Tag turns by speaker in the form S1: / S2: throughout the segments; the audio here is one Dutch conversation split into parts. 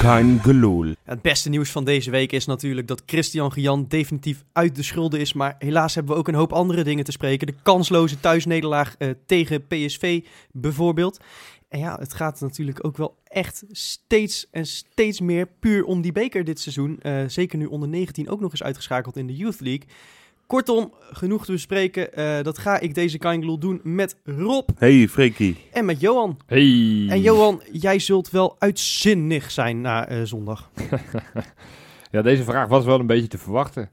S1: kein geloel.
S2: Het beste nieuws van deze week is natuurlijk dat Christian Gian definitief uit de schulden is. Maar helaas hebben we ook een hoop andere dingen te spreken. De kansloze thuisnederlaag eh, tegen PSV bijvoorbeeld. En ja, het gaat natuurlijk ook wel echt steeds en steeds meer puur om die beker dit seizoen. Eh, zeker nu onder 19 ook nog eens uitgeschakeld in de Youth League. Kortom, genoeg te bespreken. Eh, dat ga ik deze Kangeloel doen met Rob
S1: Hey Freekie.
S2: en met Johan.
S3: Hey.
S2: En Johan, jij zult wel uitzinnig zijn na eh, zondag.
S3: Ja, deze vraag was wel een beetje te verwachten.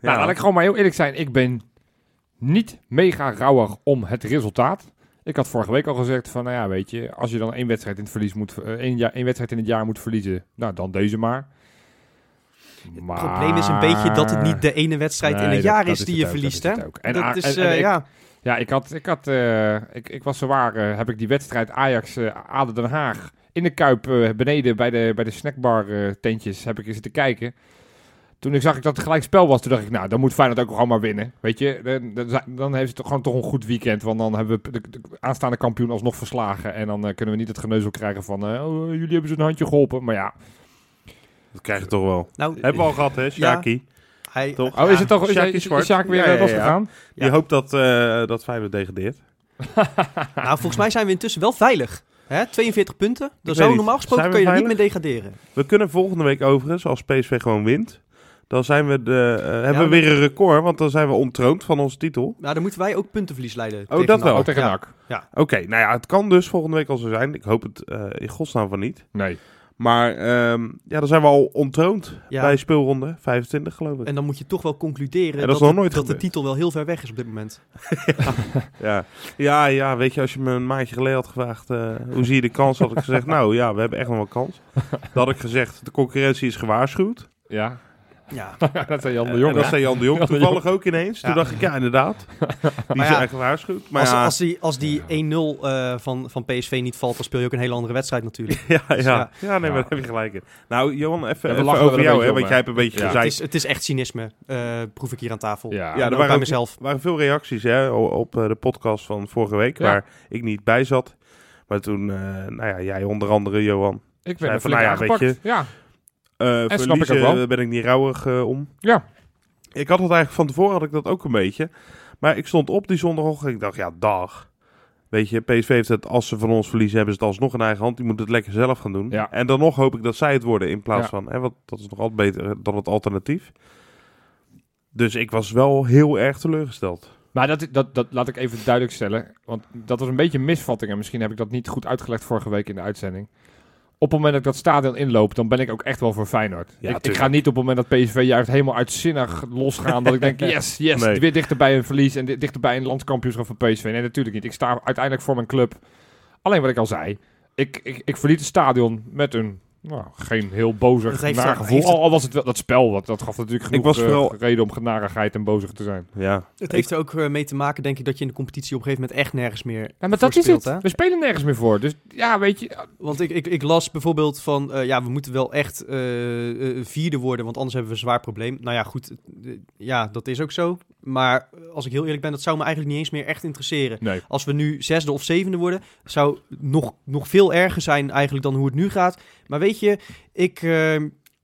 S3: Nou, laat ik gewoon maar heel eerlijk zijn. Ik ben niet mega rauwig om het resultaat. Ik had vorige week al gezegd van, nou ja, weet je, als je dan één wedstrijd in het verlies moet, eh, één, ja, één wedstrijd in het jaar moet verliezen, nou dan deze maar.
S2: Het probleem is een beetje dat het niet de ene wedstrijd in
S3: Nee,
S2: het
S3: dat-
S2: jaar
S3: dat
S2: is die
S3: het
S2: je
S3: ook,
S2: verliest, hè?
S3: dat is het ook. En a-
S2: Dat is,
S3: en- en
S2: eh,
S3: ik-
S2: ja.
S3: Ja, ik had, ik had, eh, ik, ik was zwaar, eh, heb ik die wedstrijd Ajax eh Aden Den Haag in de Kuip eh, beneden bij de, bij de snackbar eh, tentjes heb ik eens te kijken. Toen ik zag ik dat het gelijk spel was, toen dacht ik, nou, dan moet Feyenoord ook gewoon maar winnen. Weet je, dan, dan, zijn- dan heeft het toch gewoon toch een goed weekend, want dan hebben we de, de aanstaande kampioen alsnog verslagen. En dan eh, kunnen we niet het geneuzel krijgen van, eh, oh, jullie hebben ze een handje geholpen. Maar ja,
S1: Dat krijg je toch wel.
S2: Nou,
S1: Hebben we al gehad, hè, Sjaki?
S2: hij,
S1: Toch?
S3: oh, is het toch, is,
S1: Sjaak
S3: is,
S1: is zwart.
S3: is Sjaak weer
S1: Ja,
S3: eh,
S1: ja, ja.
S3: losgegaan?
S1: Je hoopt dat, eh dat Feyenoord degradeert.
S2: nou, volgens mij zijn we intussen wel veilig. Hè? 42 punten. Dan
S1: weet
S2: zou
S1: niet.
S2: normaal gesproken
S1: Zijn
S2: kun
S1: we
S2: je er niet meer degraderen.
S1: We kunnen volgende week overigens, als PSV gewoon wint, dan zijn we de, eh, hebben we
S2: maar-
S1: weer een record, want dan zijn we ontroond van onze titel.
S2: Nou, dan moeten wij ook puntenverlies leiden.
S1: Oh, dat wel.
S3: Oh, tegen
S2: Ja.
S3: NAC.
S1: Oké, nou ja, het kan dus volgende week al zo zijn. Ik hoop het eh, in godsnaam van niet.
S3: Nee.
S1: Maar ehm, ja, dan zijn we al ontroond
S2: Ja.
S1: bij speelronde 25, geloof ik.
S2: En dan moet je toch wel concluderen
S1: En dat
S2: dat,
S1: is nog
S2: het-
S1: nooit
S2: dat de
S1: gebeurd.
S2: titel wel heel ver weg is op dit moment.
S1: Ja. ja, ja, weet je, als je me een maandje geleden had gevraagd eh, hoe zie je de kans, had ik gezegd, nou ja, we hebben echt nog wel kans. Dan had ik gezegd, de concurrentie is gewaarschuwd.
S3: Ja,
S2: Ja,
S3: dat zijn Jan de
S1: en
S3: Jong.
S1: Eh, dat
S3: hè?
S1: zei Jan de Jong
S3: Jan de
S1: toevallig ook ineens. Toen
S2: Ja.
S1: dacht ik, ja, inderdaad, die
S2: Maar ja,
S1: zijn gewaarschuwd. Maar
S2: als,
S1: ja,
S2: als die, als die 1-0 eh, van, van PSV niet valt, dan speel je ook een hele andere wedstrijd natuurlijk.
S1: ja, ja, ja.
S2: ja.
S1: nee, maar daar heb je gelijk in. Nou, Johan, even,
S3: Ja, we
S1: even
S3: lachen er
S1: over
S3: een
S1: jou, hè,
S3: beetje om,
S1: want jij
S3: hè.
S1: hebt een beetje
S3: Ja.
S1: gezegd.
S2: Het is, het is echt cynisme, eh, proef ik hier aan tafel.
S3: Ja.
S1: Ja,
S2: En
S1: er
S2: ook
S1: waren
S2: bij
S1: ook-
S2: mezelf.
S1: Er waren veel reacties hè, o- op eh, de podcast van vorige week,
S3: Ja.
S1: waar ik niet bij zat. Maar toen, eh, nou ja, jij onder andere, Johan.
S3: Ik
S1: Zei
S3: ben er
S1: van,
S3: flink
S1: nou ja, weet
S3: aangepakt. Ja,
S1: Eh
S3: snap ik
S1: verliezen
S3: ook wel.
S1: eh, ben ik niet rouwig eh, om.
S3: ja.
S1: Ik had het eigenlijk van tevoren had ik dat ook een beetje. Maar ik stond op die zondagochtend en ik dacht, ja, dag. Weet je, PSV heeft het, als ze van ons verliezen, hebben ze het alsnog in eigen hand. Die moeten het lekker zelf gaan doen.
S3: Ja.
S1: En dan nog hoop ik dat zij het worden in plaats
S3: Ja.
S1: van, hè, want dat is nog altijd beter eh, dan het alternatief. Dus ik was wel heel erg teleurgesteld.
S3: Maar dat, dat, dat laat ik even duidelijk stellen. Want dat was een beetje een misvatting. En misschien heb ik dat niet goed uitgelegd vorige week in de uitzending. Op het moment dat ik dat stadion inloop, dan ben ik ook echt wel voor Feyenoord.
S1: Ja,
S3: ik, ik
S1: tuurlijk.
S3: ga niet op het moment dat PSV juicht helemaal uitzinnig losgaan. dat ik denk, yes, yes,
S1: Nee.
S3: weer dichterbij een verlies en di- dichterbij een landskampioenschap van PSV. Nee, natuurlijk niet. Ik sta uiteindelijk voor mijn club. Alleen wat ik al zei, ik, ik, ik verliet het stadion met een... Nou, geen heel
S2: Dat
S3: bozig
S2: heeft-
S3: nagevoel.
S2: heeft-
S3: Al, al was het wel dat spel, wat, dat gaf natuurlijk genoeg
S1: was
S3: eh,
S1: vooral-
S3: reden om genarigheid en bozig te zijn.
S1: Ja,
S2: Het heeft er ook eh, mee te maken, denk ik, dat je in de competitie op een gegeven moment echt nergens meer
S3: Ja, maar
S2: voor
S3: dat is
S2: speelt,
S3: het.
S2: hè?
S3: We spelen nergens meer voor. Dus ja, weet je.
S2: Want ik, ik, ik las bijvoorbeeld van, eh, ja, we moeten wel echt eh, eh, vierde worden, want anders hebben we een zwaar probleem. Nou ja, goed, eh, eh, ja, dat is ook zo. Maar als ik heel eerlijk ben, dat zou me eigenlijk niet eens meer echt interesseren.
S3: Nee.
S2: Als we nu zesde of zevende worden, zou nog, nog veel erger zijn eigenlijk dan hoe het nu gaat. Maar weet je, ik, eh,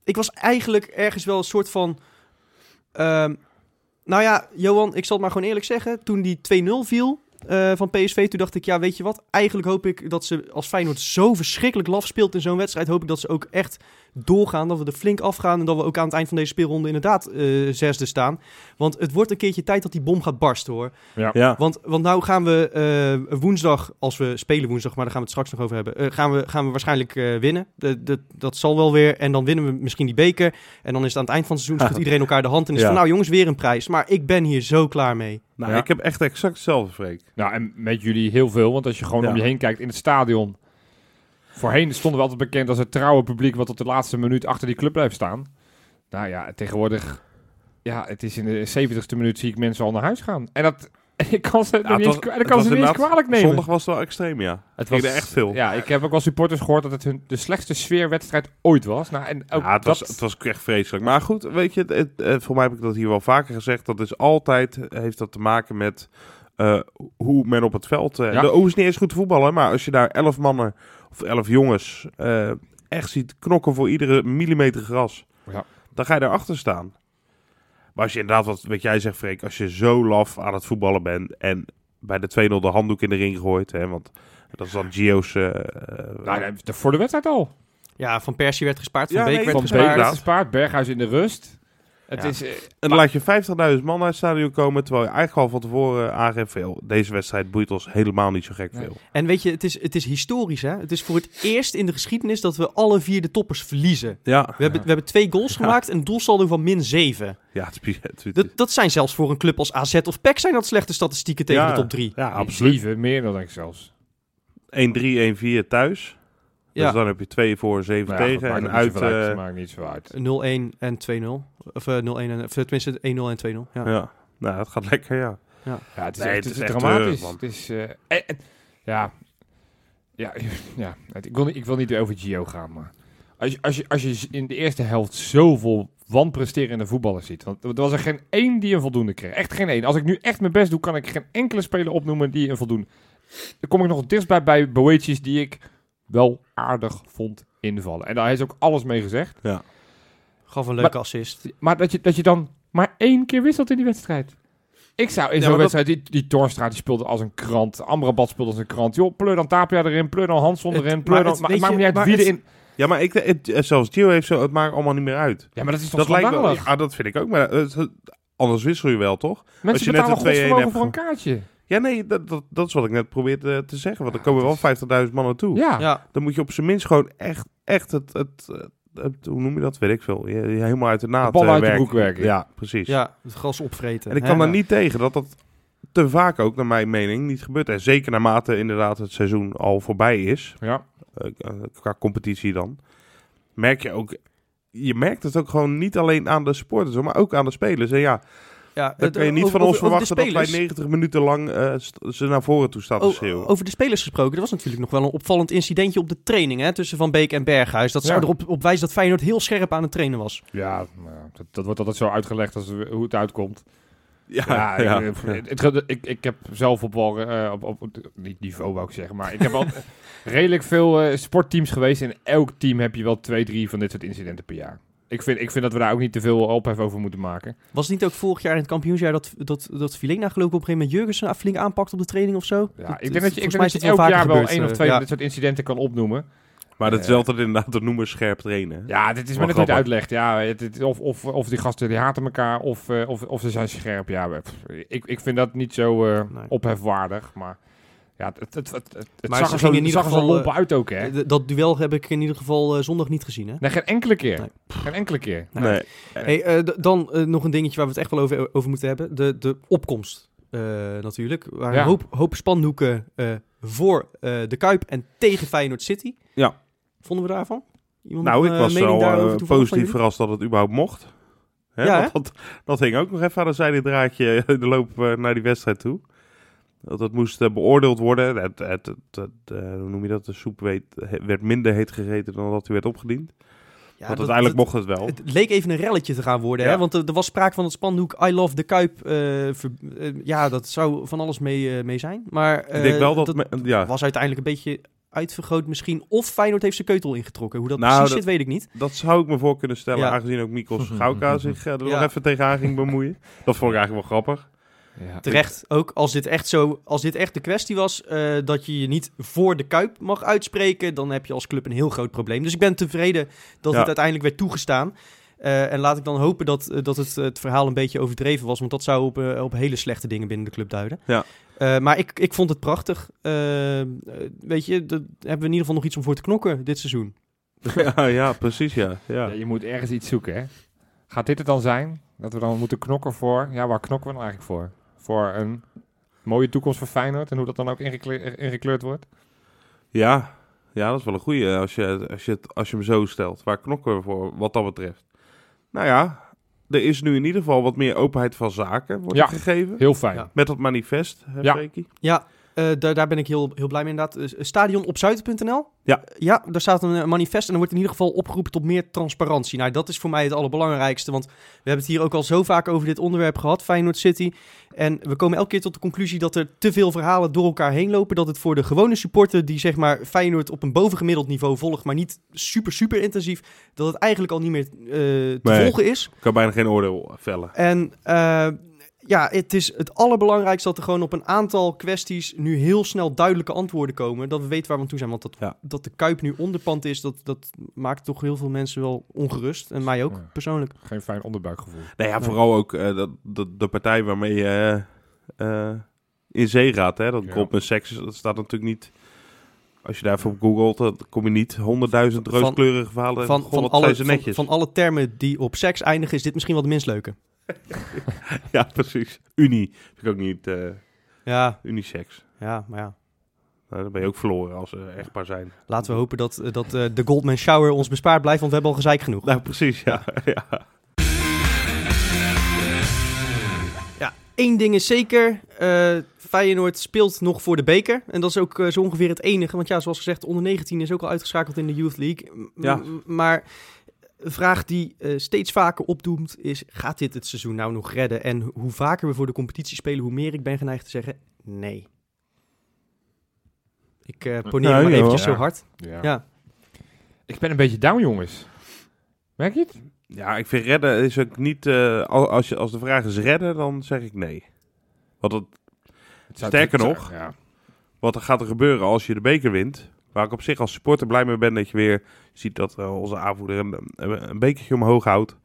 S2: ik was eigenlijk ergens wel een soort van... ehm, nou ja, Johan, ik zal het maar gewoon eerlijk zeggen. Toen die 2-0 viel eh, van PSV, toen dacht ik, ja, weet je wat? Eigenlijk hoop ik dat ze, als Feyenoord zo verschrikkelijk laf speelt in zo'n wedstrijd, hoop ik dat ze ook echt doorgaan, dat we er flink afgaan en dat we ook aan het eind van deze speelronde inderdaad eh, zesde staan. Want het wordt een keertje tijd dat die bom gaat barsten, hoor.
S1: ja.
S2: Want, want nou gaan we eh, woensdag, als we spelen woensdag, maar daar gaan we het straks nog over hebben, eh, gaan, we, gaan we waarschijnlijk eh, winnen. De, de, dat zal wel weer. En dan winnen we misschien die beker. En dan is het aan het eind van het seizoen, schudt iedereen elkaar de hand en is
S1: Ja.
S2: van nou jongens, weer een prijs. Maar ik ben hier zo klaar mee.
S1: Nou,
S3: Ja.
S1: ik heb echt exact hetzelfde, Freek.
S3: Nou, en met jullie heel veel. Want als je gewoon
S1: Ja.
S3: om je heen kijkt in het stadion. Voorheen stonden we altijd bekend als het trouwe publiek. wat tot de laatste minuut achter die club blijft staan. Nou ja, tegenwoordig. Ja, het is in de 70ste minuut zie ik mensen al naar huis gaan. En dat. en Ik kan ze, nog
S1: Nou, het
S3: niet
S1: was-
S3: eens, kwa-
S1: het
S3: ik kan
S1: was
S3: ze niet eens
S1: inderdaad
S3: kwalijk nemen.
S1: Zondag was het wel extreem, ja.
S3: het
S1: ging er echt veel.
S3: Ja, ik heb ook wel supporters gehoord dat het hun de slechtste sfeerwedstrijd ooit was. Nou, en ook
S1: ja, het,
S3: dat,
S1: was, het was echt vreselijk. Maar goed, weet je, het, het- eh, voor mij heb ik dat hier wel vaker gezegd. Dat is altijd, heeft dat te maken met eh, hoe men op het veld... eh
S3: Ja.
S1: De O is niet eens goed te voetballen, maar als je daar elf mannen of elf jongens eh, echt ziet knokken voor iedere millimeter gras,
S3: Ja.
S1: dan ga je daarachter staan. Maar als je inderdaad, wat, wat jij zegt Freek, als je zo laf aan het voetballen bent en bij de 2-0 de handdoek in de ring gooit, hè, want dat is dan Gio's... eh, eh,
S3: Nou, nee, voor de wedstrijd al.
S2: Ja, Van Persie werd gespaard, Van
S1: Ja,
S2: Beek
S1: nee,
S2: werd
S3: Van
S1: gespaard.
S3: Beek
S2: gespaard.
S3: werd gespaard, Berghuis in de rust. Het
S1: Ja.
S3: is, eh,
S1: En dan laat je 50.000 man naar het stadion komen, terwijl je eigenlijk al van tevoren aangeeft veel. Deze wedstrijd boeit ons helemaal niet zo gek
S3: Nee.
S1: veel.
S2: En weet je, het is, het is historisch hè. Het is voor het eerst in de geschiedenis dat we alle vier de toppers verliezen.
S1: Ja,
S2: We hebben, we hebben twee goals gemaakt en een doelsaldo van min 7.
S1: ja het is- het is-
S2: Dat, dat zijn zelfs voor een club als AZ of PEC zijn dat slechte statistieken tegen
S1: Ja.
S2: de top 3.
S1: ja, absoluut.
S3: Zeven, meer dan denk ik zelfs.
S1: 1-3, 1-4 thuis.
S2: Ja.
S1: Dus dan heb je 2 voor, 7
S3: Maar Nou ja, goed,
S1: tegen. En uit.
S3: maakt ook niet zoveel uit,
S1: eh,
S3: het maakt niet zo uit.
S2: 0-1 en 2-0. Of eh, 0-1 en... Of, tenminste 1-0 en 2-0. Ja.
S1: ja. Nou, dat gaat lekker, ja.
S3: Ja, het is,
S1: Nee, het
S3: echt, het
S1: is
S3: is
S1: echt
S3: dramatisch.
S1: treurig, man.
S3: het is, eh, en- en- ja, ja, ja het- ik, wil, niet- ik wil niet weer over Gio gaan, maar als je, als, je, als je in de eerste helft zoveel wanpresterende voetballers ziet, want er was er geen één die een voldoende kreeg. Echt geen één. Als ik nu echt mijn best doe, kan ik geen enkele speler opnoemen die een voldoende... Dan kom ik nog dichtstbij bij Boetjes die ik wel aardig vond invallen. En daar is ook alles mee gezegd.
S2: Gaf een leuke assist.
S3: Maar dat je, dat je dan maar één keer wisselt in die wedstrijd. Ik zou in
S1: Ja,
S3: zo'n
S1: maar dat-
S3: wedstrijd, die, die Torstra die speelde als een krant. Amrabat speelde als een krant. Joh, pleur dan Tapia erin, pleur dan Hansson
S2: Het-
S3: erin,
S2: maar
S3: pleur dan...
S2: het-
S3: Maar
S2: weet
S3: het maakt
S2: je,
S3: me niet uit
S2: maar
S3: wie
S2: het-
S3: erin...
S1: Ja, maar ik, het, eh, zelfs Gio heeft zo, het maakt allemaal niet meer uit.
S3: Ja, maar dat is toch
S1: dat lijkt wel.
S3: schandalig?
S1: Ja, dat vind ik ook. Maar eh, het- anders wissel je wel, toch?
S3: Mensen
S1: je net
S3: betalen
S1: een 2-1
S3: godsvermogen
S1: hebt
S3: voor een kaartje.
S1: Ja, nee, dat, dat, dat is wat ik net probeerde eh, te zeggen. Want er
S3: Ja,
S1: komen
S3: het
S1: wel
S3: is-
S1: 50.000 man naartoe.
S3: Ja.
S2: Ja.
S1: Dan moet je op zijn minst gewoon echt, echt het, het, het, het- hoe noem je dat? Weet ik veel. Je, je helemaal uit de naad
S3: De bal
S1: eh,
S3: uit je
S1: werken.
S3: broek werken.
S1: Ja, precies.
S2: ja, het gras opvreten.
S1: En ik
S2: hè?
S1: kan daar
S2: Ja.
S1: niet tegen dat dat te vaak ook, naar mijn mening, niet gebeurt. En zeker naarmate inderdaad het seizoen al voorbij is,
S3: Ja.
S1: eh, eh, qua competitie dan, merk je ook... Je merkt het ook gewoon niet alleen aan de supporters, maar ook aan de spelers. En
S3: Eh,
S1: ja,
S2: Ja,
S1: dan
S2: het-
S1: kun je niet
S2: over-
S1: van ons
S2: over- over de
S1: verwachten dat wij
S2: spelers.
S1: 90 minuten lang eh, st- ze naar voren toe staan te
S3: Oh,
S2: O-
S1: schreeuwen.
S2: over de spelers gesproken, er was natuurlijk nog wel een opvallend incidentje op de training hè, tussen Van Beek en Berghuis. Dat zou
S3: Ja.
S2: erop op wijzen dat Feyenoord heel scherp aan het trainen was.
S3: Ja, nou ja, dat, dat wordt altijd zo uitgelegd als hoe het uitkomt.
S1: ja,
S3: Ja,
S1: ja.
S3: Ik, eh, het- het- ik, ik heb zelf op wel, eh, op, op, op- niet niveau wou ik zeggen, maar ik heb al redelijk veel eh, sportteams geweest. En elk team heb je wel twee, drie van dit soort incidenten per jaar. Ik vind, ik vind dat we daar ook niet te veel ophef over moeten maken.
S2: Was het niet ook vorig jaar in het kampioensjaar dat, dat, dat Vilena geloof ik op een gegeven moment Jurgensen af- flink aanpakt op de training of zo?
S3: Ja, ik denk dat je, ik
S2: volgens mij
S3: denk dat
S2: is
S3: je
S2: het wel
S3: elk
S2: vaker
S3: jaar wel
S2: gebeurd,
S3: één of
S2: eh,
S3: twee
S2: ja.
S3: van dit soort incidenten kan opnoemen.
S1: Maar dat
S3: Ja.
S1: is wel altijd inderdaad te noemen scherp trainen. hè?
S3: eh. Ja, dit is
S1: Wel
S3: maar net hoe het
S1: grappig.
S3: uitlegt. Ja, het, het- of, of, of die gasten die haten elkaar, of, eh, of, of ze zijn scherp. Ja, pff, ik, ik vind dat niet zo eh,
S2: Nee.
S3: ophefwaardig, maar... Ja, het, het, het, het, het
S2: Maar
S3: zag
S2: ze
S3: er zo,
S2: gingen in ieder
S3: zag er zo
S2: geval, eh,
S3: lomp uit ook, hè?
S2: D- Dat duel heb ik in ieder geval eh, zondag niet gezien. Hè?
S3: Nee, geen enkele keer.
S2: Nee.
S3: Geen enkele keer.
S2: Nee.
S1: Nee.
S2: Hey, eh, d- dan eh, nog een dingetje waar we het echt wel over, over moeten hebben. De, de opkomst eh, natuurlijk. Waar
S3: Ja.
S2: een hoop, hoop spandoeken eh, voor eh, de Kuip en tegen Feyenoord City.
S1: Ja.
S2: Vonden we daarvan? Iemand
S1: Nou,
S2: nog
S1: ik
S2: een
S1: was
S2: mening
S1: wel
S2: daarover
S1: eh,
S2: toevallig van
S1: positief
S2: jullie?
S1: verrast dat het überhaupt mocht. Hè,
S2: Ja,
S1: want dat, dat hing ook nog even aan een zijdedraadje in de loop eh, naar die wedstrijd toe. Dat het moest eh, beoordeeld worden. Het, het, het, het, eh, hoe noem je dat? De soep weet, he- werd minder heet gegeten dan dat hij werd opgediend.
S2: Ja,
S1: want
S2: dat-
S1: uiteindelijk
S2: dat-
S1: mocht het wel.
S2: Het leek even een relletje te gaan worden,
S1: Ja.
S2: hè? want eh, er, er was sprake van het spandoek I love the Kuip. eh, ver- eh, ja, dat zou van alles mee, eh, mee zijn. Maar eh,
S1: ik denk wel dat... me- ja,
S2: was uiteindelijk een beetje uitvergroot misschien. Of Feyenoord heeft zijn keutel ingetrokken. Hoe dat
S1: Nou,
S2: precies
S1: dat-
S2: zit, weet ik niet.
S1: dat zou ik me voor kunnen stellen.
S2: Ja.
S1: Aangezien ook Mikos Gauka zich eh, er
S2: Ja.
S1: nog even tegenaan ging bemoeien. Dat vond ik eigenlijk wel grappig.
S3: Ja.
S2: Terecht ook, als dit echt, zo, als dit echt de kwestie was eh, dat je je niet voor de Kuip mag uitspreken, dan heb je als club een heel groot probleem. Dus ik ben tevreden dat
S1: Ja.
S2: het uiteindelijk werd toegestaan. Eh, en laat ik dan hopen dat, eh, dat het, eh, het verhaal een beetje overdreven was, want dat zou op, eh, op hele slechte dingen binnen de club duiden.
S1: Ja.
S2: Eh, maar ik, ik vond het prachtig. Eh, eh, weet je, daar hebben we in ieder geval nog iets om voor te knokken dit seizoen.
S1: ja, ja, precies ja. ja.
S3: Ja, je moet ergens iets zoeken, hè? Gaat dit het dan zijn? Dat we dan moeten knokken voor... Ja, waar knokken we dan eigenlijk voor? Voor een mooie toekomst voor Feyenoord en hoe dat dan ook ingekle- eh, ingekleurd wordt?
S1: Ja, ja dat is wel een goeie eh, als je, als, je het, als je hem zo stelt. Waar knokken we voor wat dat betreft? Nou ja, er is nu in ieder geval wat meer openheid van zaken wordt
S3: Ja.
S1: er gegeven.
S3: Heel fijn.
S2: Ja.
S1: Met dat manifest, hè,
S3: Ja.
S1: Freekie?
S2: Ja, eh, daar, daar ben ik heel, heel blij mee inderdaad. Dus, eh, Stadionopzuid.nl.
S1: Ja.
S2: Ja, daar staat een eh, manifest en er wordt in ieder geval opgeroepen tot meer transparantie. Nou, dat is voor mij het allerbelangrijkste, want we hebben het hier ook al zo vaak over dit onderwerp gehad, Feyenoord City. En we komen elke keer tot de conclusie dat er te veel verhalen door elkaar heen lopen, dat het voor de gewone supporter die zeg maar Feyenoord op een bovengemiddeld niveau volgt, maar niet super, super intensief, dat het eigenlijk al niet meer eh, te
S1: Nee.
S2: volgen is.
S1: Ik kan bijna geen oordeel vellen.
S2: En eh, ja, het is het allerbelangrijkste dat er gewoon op een aantal kwesties nu heel snel duidelijke antwoorden komen. Dat we weten waar we aan toe zijn. Want dat,
S1: Ja.
S2: dat de Kuip nu onderpand is, dat, dat maakt toch heel veel mensen wel ongerust. En mij ook,
S3: Ja.
S2: persoonlijk.
S3: Geen fijn onderbuikgevoel.
S1: Nou ja, vooral ook eh, dat, dat, de partij waarmee je eh, eh, in zee gaat. Hè? Dat
S3: Ja.
S1: komt met seks, dat staat natuurlijk niet... Als je daarvoor op googelt, dan kom je niet honderdduizend
S2: Van-
S1: rooskleurige verhalen.
S2: Van,
S1: God,
S2: van,
S1: wat
S2: alle,
S1: zijn ze
S2: van,
S1: netjes.
S2: van alle termen die op seks eindigen, is dit misschien wel de minst leuke.
S1: Ja, precies. Unie. Vind ik ook niet eh
S2: Ja,
S1: unisex.
S2: ja maar ja.
S1: Nou, dan ben je ook verloren als ze echtpaar zijn.
S2: Laten we hopen dat, eh, dat eh, de Goldman Shower ons bespaard blijft, want we hebben al gezeik genoeg.
S1: Nou, precies, ja. ja.
S2: Eén ding is zeker, eh, Feyenoord speelt nog voor de beker. En dat is ook eh, zo ongeveer het enige. Want ja, zoals gezegd, onder 19 is ook al uitgeschakeld in de Youth League. M-
S1: Ja.
S2: m- Maar een vraag die eh, steeds vaker opdoemt is, gaat dit het seizoen nou nog redden? En hoe vaker we voor de competitie spelen, hoe meer ik ben geneigd te zeggen, nee. Ik eh poneer
S1: Nee,
S2: maar
S1: joh.
S2: eventjes
S3: Ja.
S2: zo hard.
S3: Ja.
S2: Ja.
S3: Ik ben een beetje down, jongens. Merk je het?
S1: Ja, ik vind redden is ook niet... eh, al- als, je, als de vraag is redden, dan zeg ik nee. Want dat,
S3: Het zou-
S1: Sterker
S3: het zou-
S1: nog.
S3: Ja.
S1: wat er gaat er gebeuren als je de beker wint... Waar ik op zich als supporter blij mee ben dat je weer ziet dat eh, onze aanvoerder een, een, een bekertje omhoog houdt.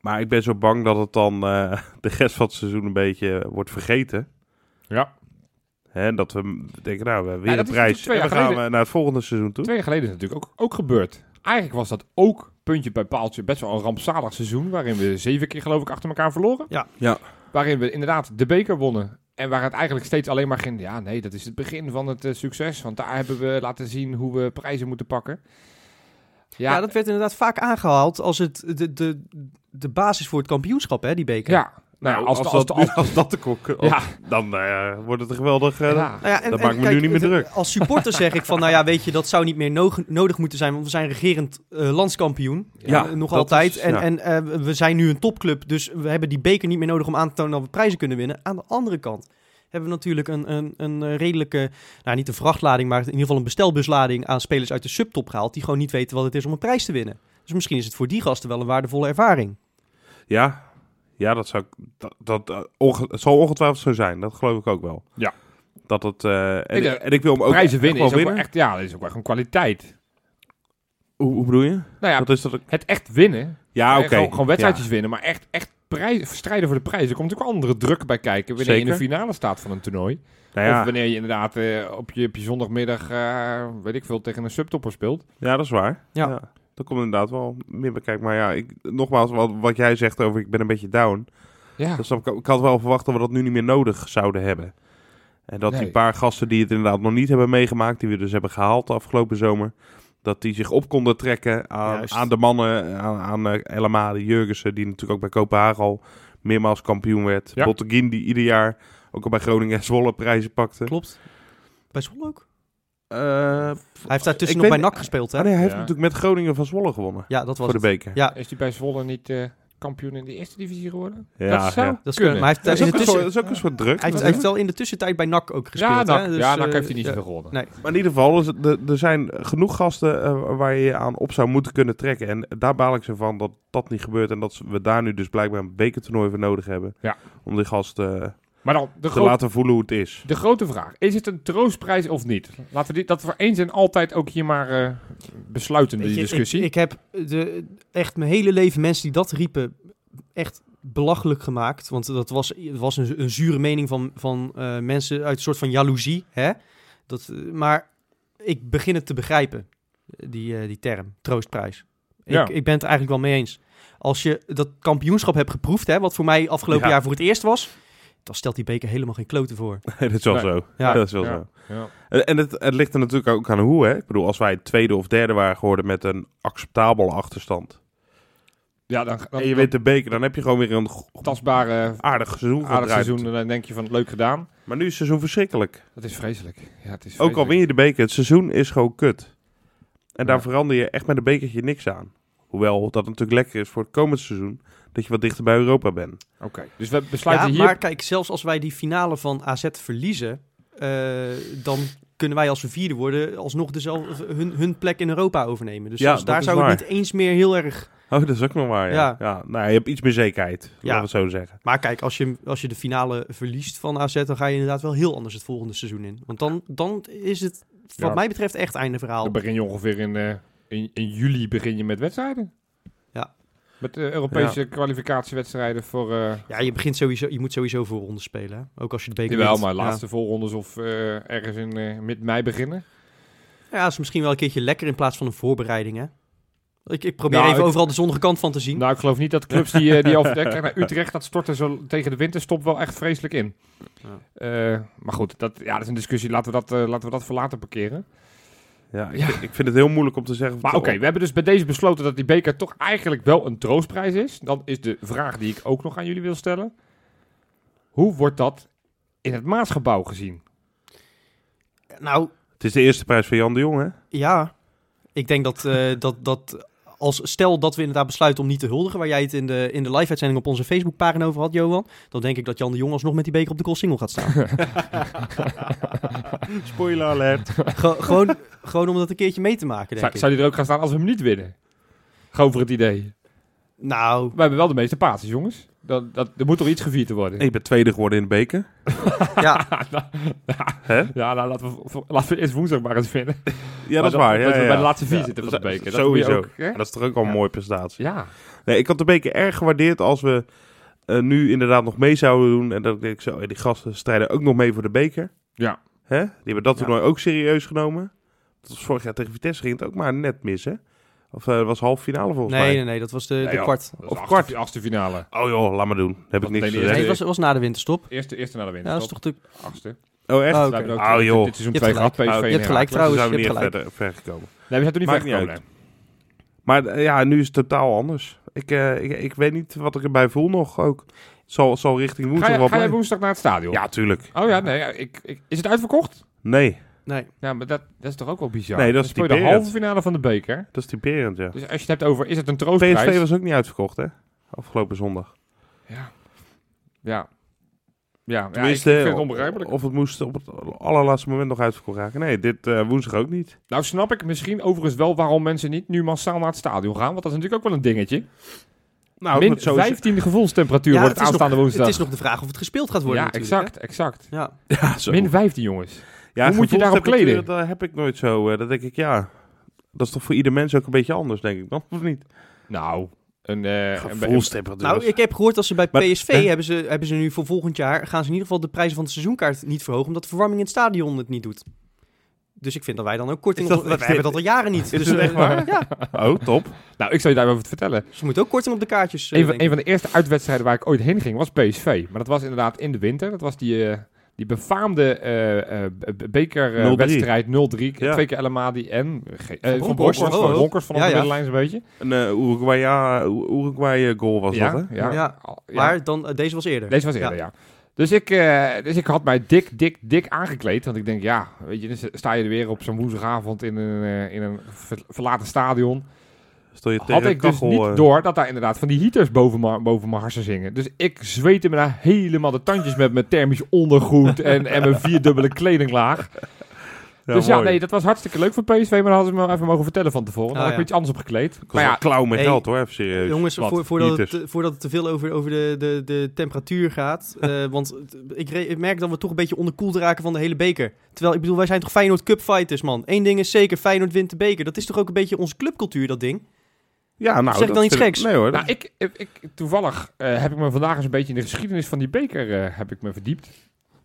S1: Maar ik ben zo bang dat het dan eh, de rest van het seizoen een beetje eh, wordt vergeten.
S3: ja.
S1: Hè, dat we denken, nou, we hebben
S3: Ja,
S1: weer
S3: dat
S1: een
S3: is
S1: prijs.
S3: natuurlijk twee
S1: En dan
S3: jaar
S1: gaan we naar het volgende seizoen toe.
S3: Twee jaar geleden is het natuurlijk ook, ook gebeurd. Eigenlijk was dat ook puntje bij paaltje best wel een rampzalig seizoen. Waarin we zeven keer, geloof ik, achter elkaar verloren.
S2: Ja.
S1: Ja.
S3: Waarin we inderdaad de beker wonnen. En waar het eigenlijk steeds alleen maar ging. Ja, nee, dat is het begin van het eh, succes. Want daar hebben we laten zien hoe we prijzen moeten pakken.
S2: Ja. dat werd inderdaad vaak aangehaald als het de, de, de basis voor het kampioenschap, hè, die beker.
S3: ja. Nou, ja, als, de- als, de- als,
S1: als dat de kok...
S3: ja,
S1: Dan eh, wordt het een geweldig... eh,
S3: ja.
S2: Nou ja, en,
S1: Dat
S2: en
S1: maakt me nu niet meer
S2: het-
S1: druk.
S2: Als supporter zeg ik van, nou ja, weet je, dat zou niet meer no- nodig moeten zijn, want we zijn regerend eh, landskampioen.
S1: Ja,
S2: Eh, nog
S1: dat
S2: altijd.
S1: is-
S2: en
S1: ja.
S2: en eh, we zijn nu een topclub, dus we hebben die beker niet meer nodig om aan te tonen dat we prijzen kunnen winnen. Aan de andere kant hebben we natuurlijk een, een, een eh, redelijke, nou niet een vrachtlading, maar in ieder geval een bestelbuslading aan spelers uit de subtop gehaald, die gewoon niet weten wat het is om een prijs te winnen. Dus misschien is het voor die gasten wel een waardevolle ervaring.
S1: Ja, ja dat, zou, ik- dat, dat eh, onge- het zal ongetwijfeld zo zijn. Dat geloof ik ook wel.
S3: Ja.
S1: Dat het, eh, en, ik,
S3: Ik, eh,
S1: en ik wil hem ook
S3: prijzen
S1: echt
S3: winnen is
S1: wel
S3: ook wel echt, ja, dat is ook wel gewoon kwaliteit.
S1: Hoe, hoe bedoel je?
S3: Nou ja,
S1: Wat is dat? ook-
S3: het echt winnen.
S1: Ja,
S2: Ah,
S3: eh,
S1: oké.
S3: Gewoon, gewoon wedstrijdjes winnen, maar echt, echt prijzen, strijden voor de prijzen. Er komt natuurlijk ook andere druk bij kijken wanneer je in de
S1: Zeker.
S3: finale staat van een toernooi.
S1: Ja. Nou ja,
S3: Of wanneer je inderdaad eh, op, je, op je zondagmiddag, eh, weet ik veel, tegen een subtopper speelt.
S1: ja, dat is waar.
S2: Ja.
S1: Ja. Dat komt inderdaad wel meer bekijk. Maar ja, ik, nogmaals, wat, wat jij zegt over ik ben een beetje down.
S3: Ja,
S1: Dat snap Dus ik, ook. ik had wel verwacht dat we dat nu niet meer nodig zouden hebben. En dat
S3: Nee.
S1: die paar gasten die het inderdaad nog niet hebben meegemaakt, die we dus hebben gehaald de afgelopen zomer, dat die zich op konden trekken aan,
S2: Juist.
S1: aan de mannen, aan, aan eh, El Amadi, Jurgensen, die natuurlijk ook bij Kopenhagen al meermaals kampioen werd.
S3: Ja.
S1: Botteguin, die ieder jaar ook al bij Groningen en Zwolle prijzen pakte.
S2: Klopt. Bij Zwolle ook.
S1: Eh,
S2: Hij heeft daartussen
S1: Ik
S2: nog bij
S1: weet-
S2: NAC gespeeld, hè?
S1: ah nee, hij heeft
S3: Ja.
S1: natuurlijk met Groningen van Zwolle gewonnen
S2: Ja, dat was
S1: voor de
S2: het.
S1: beker.
S2: Ja,
S3: is die bij Zwolle niet eh, kampioen in de eerste divisie geworden?
S1: Ja,
S3: dat zou
S1: ja.
S2: dat is
S3: kunnen.
S2: kunnen. Maar hij heeft,
S1: Dat, is
S2: in
S1: ook
S2: de
S1: een
S2: tussen-
S1: soort, dat is ook een soort druk.
S2: Hij heeft, hij heeft wel in de tussentijd bij NAC ook gespeeld.
S3: ja,
S2: hè?
S3: NAC,
S2: Dus,
S3: ja, NAC
S2: eh,
S3: heeft hij niet
S2: ja.
S3: zoveel gewonnen.
S2: Nee.
S1: Maar in ieder geval, er- er- er zijn genoeg gasten eh, waar je je aan op zou moeten kunnen trekken. En daar baal ik ze van dat dat niet gebeurt. En dat we daar nu dus blijkbaar een bekertoernooi voor nodig hebben.
S3: Ja.
S1: Om die gasten eh,
S3: Maar dan, de,
S1: te
S3: grote
S1: laten voelen hoe het is.
S3: de grote vraag. Is het een troostprijs of niet? Laten we dit, dat voor eens en altijd ook hier maar eh, besluiten,
S2: Weet
S3: die
S2: je,
S3: discussie.
S2: Ik, ik heb de, echt mijn hele leven mensen die dat riepen echt belachelijk gemaakt. Want dat was, was een, een zure mening van, van eh, mensen uit een soort van jaloezie. Hè? Dat, eh, maar ik begin het te begrijpen, die, eh, die term, troostprijs.
S3: Ja.
S2: Ik, ik ben het eigenlijk wel mee eens. Als je dat kampioenschap hebt geproefd, hè, wat voor mij afgelopen
S1: Ja.
S2: jaar voor het eerst was, dan stelt die beker helemaal geen kloten voor.
S1: dat is wel
S3: Nee.
S1: zo.
S2: Ja.
S1: dat is wel
S3: Ja.
S1: zo.
S3: Ja.
S1: En en het, het ligt er natuurlijk ook aan hoe. Hè? Ik bedoel, als wij tweede of derde waren geworden met een acceptabele achterstand.
S3: Ja, dan, dan,
S1: en je wint de beker, dan heb je gewoon weer een go-
S3: dan tastbare
S2: Ah,
S1: aardig seizoen
S3: aardig
S1: gedraaid.
S3: seizoen. En dan denk je van, leuk gedaan.
S1: Maar nu is het seizoen verschrikkelijk.
S3: Dat is vreselijk. Ja, het is
S1: Ook
S3: vreselijk.
S1: al win je de beker, het seizoen is gewoon kut. En daar
S3: Ja.
S1: verander je echt met een bekertje niks aan. Hoewel dat natuurlijk lekker is voor het komend seizoen, dat je wat dichter bij Europa bent.
S3: Oké, dus we
S2: Ja,
S3: besluiten hier...
S2: maar kijk, zelfs als wij die finale van AZ verliezen, eh, dan kunnen wij als we vierde worden alsnog dezelfde, hun, hun plek in Europa overnemen. Dus
S1: Ja,
S2: zelfs
S1: dat
S2: daar
S1: is
S2: zou
S1: waar.
S2: het niet eens meer heel erg...
S1: Oh, dat is ook nog waar, ja. ja.
S2: Ja.
S1: nou, je hebt iets meer zekerheid, laten
S2: Ja.
S1: we het zo zeggen.
S2: Maar kijk, als je, als je de finale verliest van AZ, dan ga je inderdaad wel heel anders het volgende seizoen in. Want dan, dan is het, wat
S3: Ja.
S2: mij betreft, echt einde verhaal.
S3: Dan begin je ongeveer in, eh, in, in juli begin je met wedstrijden.
S2: Ja.
S3: Met de Europese kwalificatiewedstrijden voor... eh,
S2: Ja, je, begint sowieso, je moet sowieso voorronde spelen. hè. Ook als je de beker
S3: Jawel,
S2: wint.
S3: maar
S2: Ja.
S3: laatste voorrondes of eh, ergens in eh, mid-mei beginnen.
S2: Ja, dat is misschien wel een keertje lekker in plaats van een voorbereiding, hè? Ik, ik probeer
S3: Nou,
S2: even
S3: ik-
S2: overal de zonnige kant van te zien.
S3: Nou, ik geloof niet dat clubs die, eh, die al vertrekken naar Utrecht, dat storten zo tegen de winterstop wel echt vreselijk in.
S2: Ja.
S3: Eh, maar goed, dat, ja, dat is een discussie. Laten we dat, eh, laten we dat voor later parkeren.
S1: Ja, ik,
S3: Ja.
S1: ik vind het heel moeilijk om te zeggen...
S3: Maar oké, we hebben dus bij deze besloten dat die beker toch eigenlijk wel een troostprijs is. Dan is de vraag die ik ook nog aan jullie wil stellen. Hoe wordt dat in het Maasgebouw gezien?
S2: Nou,
S1: Het is de eerste prijs van Jan de Jong, hè?
S2: ja. Ik denk dat, eh, dat, dat als stel dat we inderdaad besluiten om niet te huldigen, waar jij het in de, in de live-uitzending op onze Facebookpagina over had, Johan, dan denk ik dat Jan de Jong alsnog met die beker op de single gaat staan.
S1: Spoiler alert.
S2: Ge- gewoon, gewoon om dat een keertje mee te maken, denk
S3: Zou,
S2: ik.
S3: zou die er ook gaan staan als we hem niet winnen? Gewoon voor het idee.
S2: Nou,
S3: We hebben wel de meeste pases, jongens. Dat, dat, er moet toch iets gevierd te worden?
S1: Ik ben tweede geworden in de beker.
S2: ja.
S1: Hè?
S3: Ja, nou, laten, we, v- laten we eerst woensdag maar eens vinden.
S1: Ja, dat is waar. Ja,
S3: Dat we
S1: ja,
S3: bij
S1: ja.
S3: de laatste vier
S1: Ja,
S3: zitten van de
S1: dat-
S3: beker. Dat moet je
S1: Sowieso.
S3: ook, hè?
S1: dat is toch ook al een
S3: Ja.
S1: mooie prestatie.
S3: ja.
S1: Nee, ik had de beker erg gewaardeerd als we eh, nu inderdaad nog mee zouden doen. En dat ik denk, zo, eh, die gasten strijden ook nog mee voor de beker.
S3: Ja.
S1: Hè? Die hebben dat
S2: Ja.
S1: toernooi ook serieus genomen. Dat was vorig jaar tegen Vitesse ging het ook maar net mis, hè? Of eh, dat was half finale volgens
S2: Nee,
S1: mij.
S2: nee, nee, dat was de, de
S3: Nee, joh.
S2: kwart.
S3: Dat is
S1: Of
S3: de
S1: kwart.
S3: achtste, achtste finale.
S1: Oh joh, laat maar doen. Daar heb ik
S3: Dat
S1: niks
S3: deed
S1: gezegd.
S2: Nee,
S3: hij
S2: het was, het was na de winterstop.
S3: Eerste, eerste naar de
S2: Ja,
S3: winter.
S2: dat is toch de...
S3: achtste.
S1: Oh echt?
S2: Oh,
S1: Nou,
S2: oké.
S3: We hebben ook
S1: Ah,
S3: dit-
S1: joh.
S3: Dit seizoen
S2: Je hebt
S3: twee gehad,
S2: gelijk.
S3: PSV en
S1: Je
S2: hebt
S1: toen
S2: gelijk.
S3: Heracles.
S2: trouwens,
S1: zijn we
S2: je
S1: niet
S2: hebt
S1: echt verder, ver gekomen.
S3: Nee, we zijn toen niet
S1: Maakt
S3: ver
S1: niet
S3: gekomen.
S1: uit. Maar eh, ja, nu is het totaal anders. Ik, eh, ik, ik weet niet wat ik erbij voel nog ook. Zal, zal richting
S3: nee. Ga,
S1: woensdag
S3: je-
S1: wel
S3: ga jij
S1: blijven.
S3: woensdag naar het stadion?
S1: Ja, tuurlijk.
S3: Oh ja, nee. ja, ik, ik, is het uitverkocht?
S1: Nee,
S2: Nee.
S3: Ja, maar dat, dat is toch ook wel bizar?
S1: Nee, dat
S3: Dan
S1: is
S3: speel je de
S1: typerend.
S3: halve finale van de beker.
S1: dat is typerend, ja.
S3: Dus als je het hebt over, is het een troostprijs?
S1: PSV was ook niet uitverkocht, hè? Afgelopen zondag.
S3: Ja. Ja. Ja, ja ik, ik
S1: Tenminste, eh,
S3: vind het onbegrijpelijk.
S1: Of het moest op het allerlaatste moment nog uitverkocht raken. Nee, dit eh, woensdag ook niet.
S3: Nou snap ik misschien overigens wel waarom mensen niet nu massaal naar het stadion gaan. Want dat is natuurlijk ook wel een dingetje.
S1: Nou,
S3: Min
S1: dat zo is-
S3: 15 gevoelstemperatuur
S2: Ja,
S3: wordt
S2: het is
S3: aanstaande
S2: nog-
S3: woensdag.
S2: Het is nog de vraag of het gespeeld gaat worden
S3: ja,
S2: natuurlijk,
S3: exact, exact.
S2: hè? Ja.
S1: Ja, zo.
S3: Min 15 jongens.
S1: Ja,
S3: Hoe moet je daarop
S1: gevoelstemperatuur,
S3: kleden?
S1: Dat heb ik nooit zo. eh, dat denk ik, ja. Dat is toch voor ieder mens ook een beetje anders, denk ik dan, of niet?
S3: Nou, een... eh, een-
S1: Gevoelstemperatuur.
S2: Nou, ik heb gehoord dat ze bij
S1: Dus Maar-
S2: PSV
S1: hè?
S2: hebben ze, hebben ze nu voor volgend jaar gaan ze in ieder geval de prijzen van de seizoenkaart niet verhogen, omdat de verwarming in het stadion het niet doet. Dus ik vind dat wij dan ook korting
S1: Is dat-
S2: op... Wij hebben dat al jaren niet.
S1: Is
S2: dus,
S1: het echt
S2: eh,
S1: waar?
S2: Ja,
S1: Oh, top.
S3: nou, ik zal je daarover wat vertellen.
S2: ze moeten ook korting op de kaartjes. eh,
S3: Een van,
S2: denk ik.
S3: een van de eerste uitwedstrijden waar ik ooit heen ging was PSV. Maar dat was inderdaad in de winter. Dat was die, eh, die befaamde eh, eh, be- bekerwedstrijd
S1: 0-3.
S3: 0-3.
S1: Ja.
S3: Twee keer Elamadi en eh, ge- eh,
S2: Van
S3: Van
S2: Bronckhorst.
S3: Bronckhorst. Van
S2: Oh, oh.
S3: Bronckhorst vanaf
S2: Ja,
S3: de
S2: ja.
S3: middenlijn zo'n beetje.
S1: Een eh, Uruguay, ja, Uruguay eh, goal was
S3: ja,
S1: dat, hè?
S3: Ja,
S2: Ja.
S3: Al- ja.
S2: Maar dan, eh, deze was eerder.
S3: Deze was eerder, ja. Dus, ik, eh, dus ik had mij dik, dik, dik aangekleed. Want ik denk, ja, weet je, dan sta je er weer op zo'n woensdagavond in een, eh, in een ver- verlaten stadion.
S1: Stel je tegen
S3: had
S1: de
S3: ik dus
S1: kachel,
S3: niet
S1: eh,
S3: door dat daar inderdaad van die heaters boven, ma- boven mijn harsen zingen. Dus ik zweette me daar helemaal de tandjes met mijn thermisch ondergoed en, en mijn vierdubbele kledinglaag.
S1: Ja,
S3: dus ja,
S1: mooi.
S3: nee, dat was hartstikke leuk voor PSV, maar dat hadden ze me even mogen vertellen van tevoren.
S2: Ah,
S3: Dan had ik
S2: ja.
S3: me iets anders opgekleed.
S1: Kost
S3: Maar
S1: wel
S3: ja,
S1: klauw met
S2: hey,
S1: geld, hoor, even serieus.
S2: Jongens,
S1: Wat?
S2: voor, voordat, het,
S1: Heaters.
S2: te- voordat het te veel over, over de, de, de temperatuur gaat. eh, want het- ik, re- ik merk dat we toch een beetje onderkoeld raken van de hele beker. Terwijl, ik bedoel, wij zijn toch Feyenoord Cup fighters, man. Eén ding is zeker, Feyenoord wint de beker. Dat is toch ook een beetje onze clubcultuur, dat ding?
S1: Ja, nou...
S2: Zeg ik
S1: dat
S2: dan iets
S1: vind ik-
S2: geks?
S1: Nee, hoor.
S3: nou, ik, ik, ik- toevallig eh, heb ik me vandaag eens een beetje in de geschiedenis van die beker eh, heb ik me verdiept.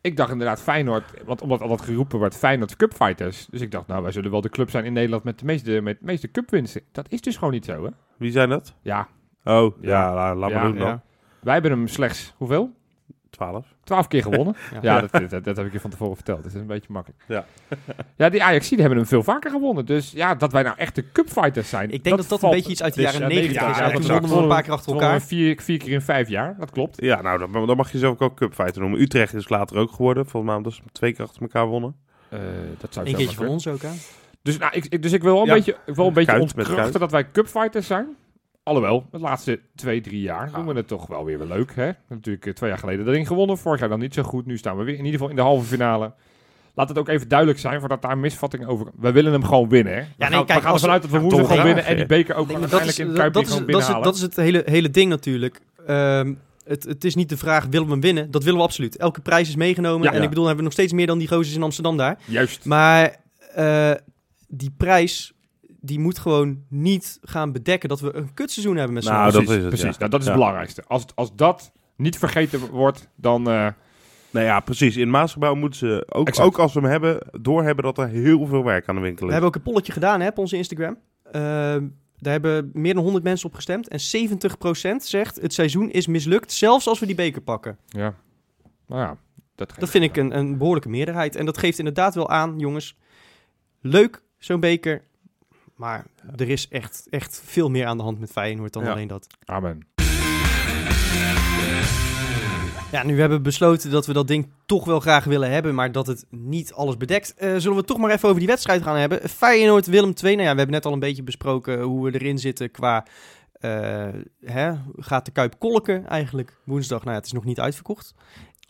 S3: Ik dacht inderdaad Feyenoord, want omdat al dat geroepen werd Feyenoord Cupfighters. Dus ik dacht, nou, wij zullen wel de club zijn in Nederland met de meeste, met de meeste cupwinsten. Dat is dus gewoon niet zo, hè?
S1: Wie zijn dat?
S3: Ja,
S1: Oh, ja,
S3: Ja.
S1: la- laat
S3: Ja,
S1: maar doen
S3: ja.
S1: dan.
S3: Wij hebben hem slechts, hoeveel?
S1: 12.
S3: Twaalf keer gewonnen.
S2: Ja.
S3: Ja, dat, dat, dat heb ik je van tevoren verteld. Dat is een beetje makkelijk.
S1: Ja.
S3: ja, die ajax hebben hem veel vaker gewonnen. Dus ja, dat wij nou echte cupfighters zijn.
S2: Ik denk dat dat, een
S3: valt-
S2: beetje iets uit de
S1: dus,
S2: jaren
S1: ja,
S2: 90
S1: ja,
S2: is. Ja,
S1: ja,
S2: toen
S1: exact.
S2: wonnen we een paar keer achter
S3: Gewonnen
S2: elkaar.
S3: we Vier, vier keer in vijf jaar, dat klopt.
S1: Ja, nou, dan, dan mag je zelf ook wel cupfighter noemen. Utrecht is later ook geworden. Volgens mij omdat ze twee keer achter elkaar wonnen.
S3: Eh, dat zou ik
S2: Eén
S3: zo
S2: keertje van ons ook, hè?
S3: Dus, nou, ik, ik- dus ik wil wel een
S1: Ja.
S3: beetje, ik wil een beetje
S1: Kuit met
S3: ontkrachten
S1: kuit.
S3: dat wij cupfighters zijn. Alhoewel, de laatste twee, drie jaar
S1: Ja.
S3: doen we het toch wel weer wel leuk. Hè? Natuurlijk eh, twee jaar geleden de ring gewonnen. Vorig jaar dan niet zo goed. Nu staan we weer in ieder geval in de halve finale. Laat het ook even duidelijk zijn voordat daar misvatting over... We willen hem gewoon winnen. Hè? We
S2: nee,
S3: gaan, we
S2: kijk,
S3: gaan
S2: als-
S3: ervan uit dat we
S1: Ja,
S3: woensdag
S1: toch
S3: gewoon
S1: graag,
S3: winnen. En die
S1: hè.
S3: beker ook
S2: Nee, maar dat, is,
S3: uiteindelijk in het
S2: dat, dat
S3: Kuipje
S2: is,
S3: gewoon
S2: dat, is,
S3: binnenhalen.
S2: dat is het hele, hele ding natuurlijk. Ehm, het, het is niet de vraag, willen we hem winnen? Dat willen we absoluut. Elke prijs is meegenomen.
S3: Ja.
S2: en
S3: Ja.
S2: ik bedoel, dan hebben we nog steeds meer dan die gozers in Amsterdam daar.
S3: Juist.
S2: Maar eh, die prijs, die moet gewoon niet gaan bedekken dat we een kutseizoen hebben met z'n
S1: Nou,
S2: allen.
S3: precies,
S1: dat is het,
S3: Precies,
S1: ja.
S3: nou, dat is
S1: Ja.
S3: het belangrijkste. Als, het- als dat niet vergeten wordt, dan... eh,
S1: Nou ja, precies. In het Maasgebouw moeten ze, ook,
S3: Exact.
S1: ook als we hem hebben, doorhebben dat er heel veel werk aan de winkel
S2: We
S1: is.
S2: hebben ook een polletje gedaan hè, op onze Instagram. Ehm, daar hebben meer dan 100 mensen op gestemd. En 70% zegt, het seizoen is mislukt, zelfs als we die beker pakken.
S3: ja. Nou ja, dat,
S2: Dat vind ik een, een behoorlijke meerderheid. En dat geeft inderdaad wel aan, jongens. Leuk, zo'n beker. Maar er is echt, echt veel meer aan de hand met Feyenoord dan
S1: Ja.
S2: alleen dat.
S3: Amen.
S2: Ja, nu hebben we besloten dat we dat ding toch wel graag willen hebben, maar dat het niet alles bedekt. Eh, zullen we het toch maar even over die wedstrijd gaan hebben? Feyenoord-Willem 2. Nou ja, we hebben net al een beetje besproken hoe we erin zitten qua... eh, hè, gaat de Kuip kolken eigenlijk woensdag? Nou ja, het is nog niet uitverkocht.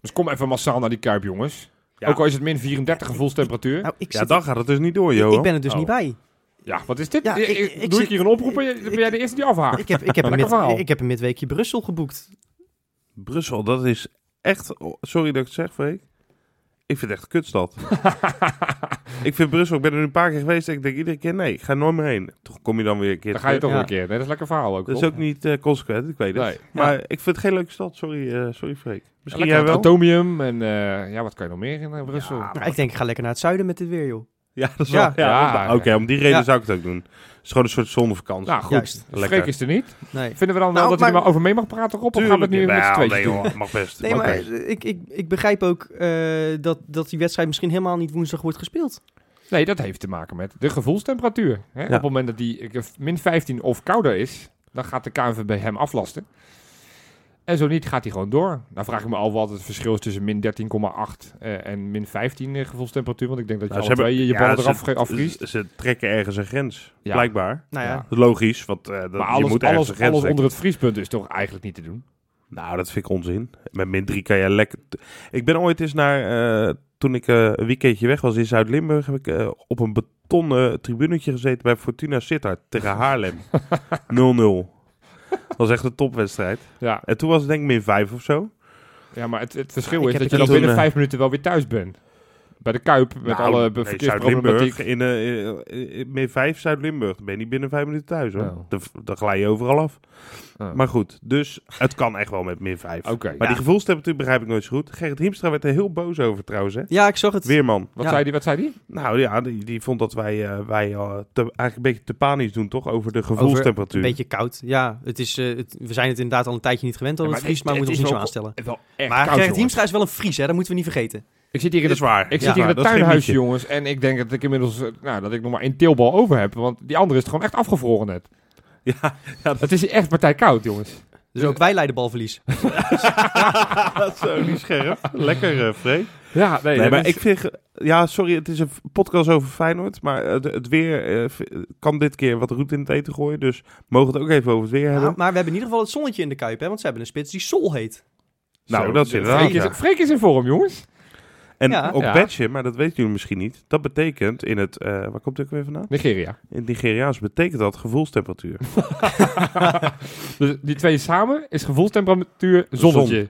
S3: Dus kom even massaal naar die Kuip, jongens.
S1: Ja.
S3: Ook al is het min 34 gevoelstemperatuur.
S2: Nou, ik,
S1: Ja,
S2: zit-
S1: dan gaat het dus niet door, Johan.
S2: ik ben er dus
S1: Oh.
S2: niet bij.
S3: Ja, wat is dit?
S2: Ja,
S3: Ik-
S2: ik-
S3: ik-
S2: ik
S3: Doe ik
S2: zit-
S3: hier een oproep en je- ben jij de eerste die afhaakt?
S2: Ik heb, ik, heb een
S3: Lekker verhaal.
S2: mid, ik heb een midweekje Brussel geboekt.
S1: Brussel, dat is echt... oh, Sorry dat ik het zeg, Freek. Ik vind het echt een kutstad. ik vind Brussel, ik ben er nu een paar keer geweest. en Ik denk iedere keer, nee, ik ga er nooit meer heen. Toch kom je dan weer een keer
S3: Dan ga je toch
S2: Ja.
S3: weer een keer. Nee, dat is een lekker verhaal ook.
S1: Dat is
S3: Rob.
S1: ook niet eh, consequent, ik weet het.
S3: Nee.
S1: Maar ik vind het geen leuke stad, sorry, eh, sorry Freek. Misschien
S3: Lekker
S1: jij
S3: het
S1: wel?
S3: Atomium en eh, ja, wat kan je nog meer in eh, Brussel?
S1: Ja,
S2: Nou, ik denk, ik ga lekker naar het zuiden met dit weer, joh.
S1: Ja, dat is
S2: Ja.
S1: wel...
S3: Ja.
S1: Ja, nou, Oké, om die reden
S2: Ja.
S1: zou ik het ook doen. Het is gewoon een soort zonnevakantie.
S3: nou goed,
S2: Juist.
S3: Dus
S1: Lekker.
S3: Freek is er niet.
S2: Nee.
S3: Vinden we
S2: Nou,
S3: dan wel dat hij
S2: maar-
S3: er maar over mee mag praten, Rob? Of gaan we
S1: Tuurlijk,
S3: het nu weer met z'n
S1: ja,
S3: tweeën
S1: nee,
S3: doen? Nou,
S1: joh, mag best.
S2: Nee,
S1: Mag
S2: maar
S1: best.
S2: eh, ik, ik, ik begrijp ook eh, dat, dat die wedstrijd misschien helemaal niet woensdag wordt gespeeld.
S3: Nee, dat heeft te maken met de gevoelstemperatuur. Hè? Op het moment dat die eh, min 15 of kouder is, dan gaat de KNVB hem aflasten. En zo niet, gaat hij gewoon door. Nou vraag ik me al wat het verschil is tussen min 13,8 eh, en min 15 eh, gevoelstemperatuur. Want ik denk dat je
S1: Nou,
S3: alle
S1: ze hebben-
S3: twee je
S1: ja,
S3: ballen
S1: ze-
S3: eraf ge- afvriest.
S1: Ze, ze trekken ergens een grens,
S3: Ja.
S1: blijkbaar.
S2: Nou ja.
S3: Ja.
S1: Logisch, want eh, dat,
S3: Maar
S1: je
S3: alles,
S1: moet ergens een
S3: alles,
S1: grens
S3: alles
S1: trekken.
S3: onder het vriespunt is toch eigenlijk niet te doen?
S1: Nou, dat vind ik onzin. Met min 3 kan je lekker... t- Ik ben ooit eens naar... eh, toen ik eh, een weekendje weg was in Zuid-Limburg... heb ik eh, op een betonnen tribunetje gezeten bij Fortuna Sittard tegen Haarlem. 0-0. Dat was echt een topwedstrijd.
S3: Ja,
S1: En toen was het denk ik min 5 of zo.
S3: ja maar het, het verschil
S2: Ik
S3: is
S2: heb het
S3: dat je dan
S1: niet-
S3: binnen
S1: Toen, eh,
S3: vijf minuten wel weer thuis bent. Bij de Kuip, met
S1: Nou,
S3: alle
S1: nee,
S3: be- verkeersproblematiek.
S1: Zuid-Limburg, in, eh, eh, eh, min 5 Zuid-Limburg. Dan ben je niet binnen 5 minuten thuis hoor.
S3: Oh.
S1: Dan, dan glij je overal af.
S3: Oh.
S1: Maar goed, dus het kan echt wel met min 5.
S3: Oké,
S1: Maar
S3: ja.
S1: die gevoelstemperatuur begrijp ik nooit zo goed. Gerrit Hiemstra werd er heel boos over trouwens hè.
S2: Ja, ik zag het.
S1: Weerman.
S3: wat,
S2: Ja.
S3: zei die, wat zei die?
S1: Nou ja, die, die vond dat wij, eh, wij eh, te- eigenlijk een beetje te panisch doen, toch? Over de
S2: Een
S1: gevoelstemperatuur.
S2: beetje koud. Ja, het is, eh, het- we zijn het inderdaad al een tijdje niet gewend dat
S3: Ja,
S2: het
S3: maar
S2: vriest, maar we
S3: het-
S2: moeten
S3: het
S2: ons niet zo
S3: is
S2: aanstellen.
S3: Wel echt
S2: Maar
S3: koud,
S2: Gerrit
S3: jongen.
S2: Hiemstra is wel een Fries, hè? dat moeten we niet vergeten.
S3: Ik zit hier in
S1: Dat
S3: de
S1: is waar.
S3: Ik
S2: Ja,
S3: zit hier in het
S1: dat is geen
S3: tuinhuisje,
S1: mietje.
S3: jongens. En ik denk dat ik inmiddels eh, nou, dat ik nog maar één teelbal over heb. Want die andere is gewoon echt afgevroren net.
S1: Ja,
S3: Het is hier echt partij koud, jongens.
S2: Dus ook wij leiden balverlies.
S1: dat is zo niet scherp. Lekker, eh, Freek.
S3: Ja, nee.
S1: Nee,
S3: dat
S1: maar
S3: is-
S1: ik vind... ge- Ja, sorry, het is een f- podcast over Feyenoord. Maar het, het weer eh, v- kan dit keer wat roet in het eten gooien. Dus mogen we het ook even over het weer
S2: Ja,
S1: hebben.
S2: Ah, maar we hebben in ieder geval het zonnetje in de kuip, hè? want ze hebben een spits die Sol heet.
S1: Nou,
S3: Zo,
S1: dat is
S3: de-
S1: inderdaad,
S3: Freek is,
S1: ja.
S3: Freek is in vorm, jongens.
S1: En
S2: Ja.
S1: ook
S3: Ja.
S1: badge, maar dat weten jullie misschien niet. Dat betekent in het... eh, waar komt het ook weer vandaan?
S3: Nigeria.
S1: In het Nigeriaans betekent dat gevoelstemperatuur.
S3: Dus die twee samen is gevoelstemperatuur zonnetje.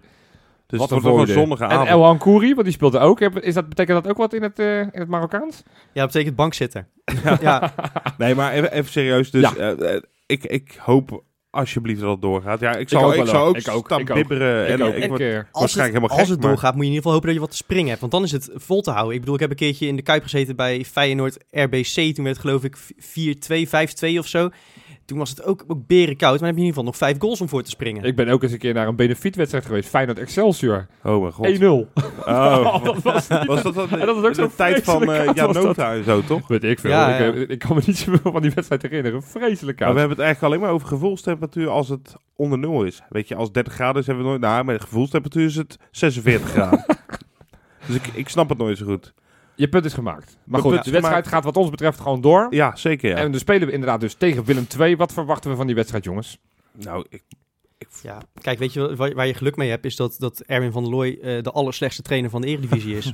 S1: Dus
S3: Wat
S1: het
S3: een
S1: wordt nog een
S3: voordeel.
S1: zonnige
S3: En
S1: avond.
S3: El Hankouri, want die speelde ook. Heb- Is dat, betekent dat ook wat in het, eh, in het Marokkaans?
S2: Ja, dat betekent bankzitter. Ja, ja.
S1: Nee, maar even, even serieus. Dus
S3: Ja.
S1: eh, eh, ik, ik hoop alsjeblieft dat het doorgaat. Ja, ik, zal,
S3: ook
S1: ik,
S3: wel
S1: zou
S3: wel.
S1: ook,
S3: Ik ook,
S1: staan
S3: ik ook.
S1: bibberen. en
S3: ook.
S1: ik word-
S3: eh,
S2: Als het,
S1: Waarschijnlijk helemaal
S2: als
S1: gek,
S2: het
S1: maar-
S2: doorgaat, moet je in ieder geval hopen dat je wat te springen hebt. Want dan is het vol te houden. Ik bedoel, ik heb een keertje in de Kuip gezeten bij Feyenoord RBC. Toen werd het geloof ik 4-2, 5-2 of zo. Toen was het ook, ook berenkoud, maar dan heb je in ieder geval nog vijf goals om voor te springen.
S3: Ik ben ook eens een keer naar een benefietwedstrijd geweest. Feyenoord Excelsior. 1-0.
S1: Oh mijn god.
S3: Oh,
S1: Oh.
S3: dat was niet...
S1: Was dat, dat,
S3: En dat is
S1: de
S3: ook zo'n
S1: tijd van
S3: vreselijk
S1: eh
S3: koud
S1: Jan
S3: was dat.
S1: Nota en zo, toch?
S3: Weet ik veel.
S2: Ja,
S3: Ik,
S2: ja.
S3: eh, ik kan me niet zoveel van die wedstrijd herinneren. Vreselijk
S1: Maar
S3: koud.
S1: we hebben het eigenlijk alleen maar over gevoelstemperatuur als het onder nul is. Weet je, als 30 graden is, hebben we nooit... Nou, met gevoelstemperatuur is het 46 graden. dus ik, ik snap het nooit zo goed.
S3: Je punt is gemaakt. Maar
S1: Mijn
S3: goed,
S1: punt
S3: de
S1: is
S3: wedstrijd
S1: gemaakt.
S3: gaat wat ons betreft gewoon door.
S1: Ja, zeker ja.
S3: En dan spelen we inderdaad dus tegen Willem II. Wat verwachten we van die wedstrijd, jongens?
S1: Nou, ik,
S2: Ja, kijk, weet je wel, waar, waar je geluk mee hebt, is dat, dat Erwin van der Looy eh, de allerslechtste trainer van de Eredivisie is.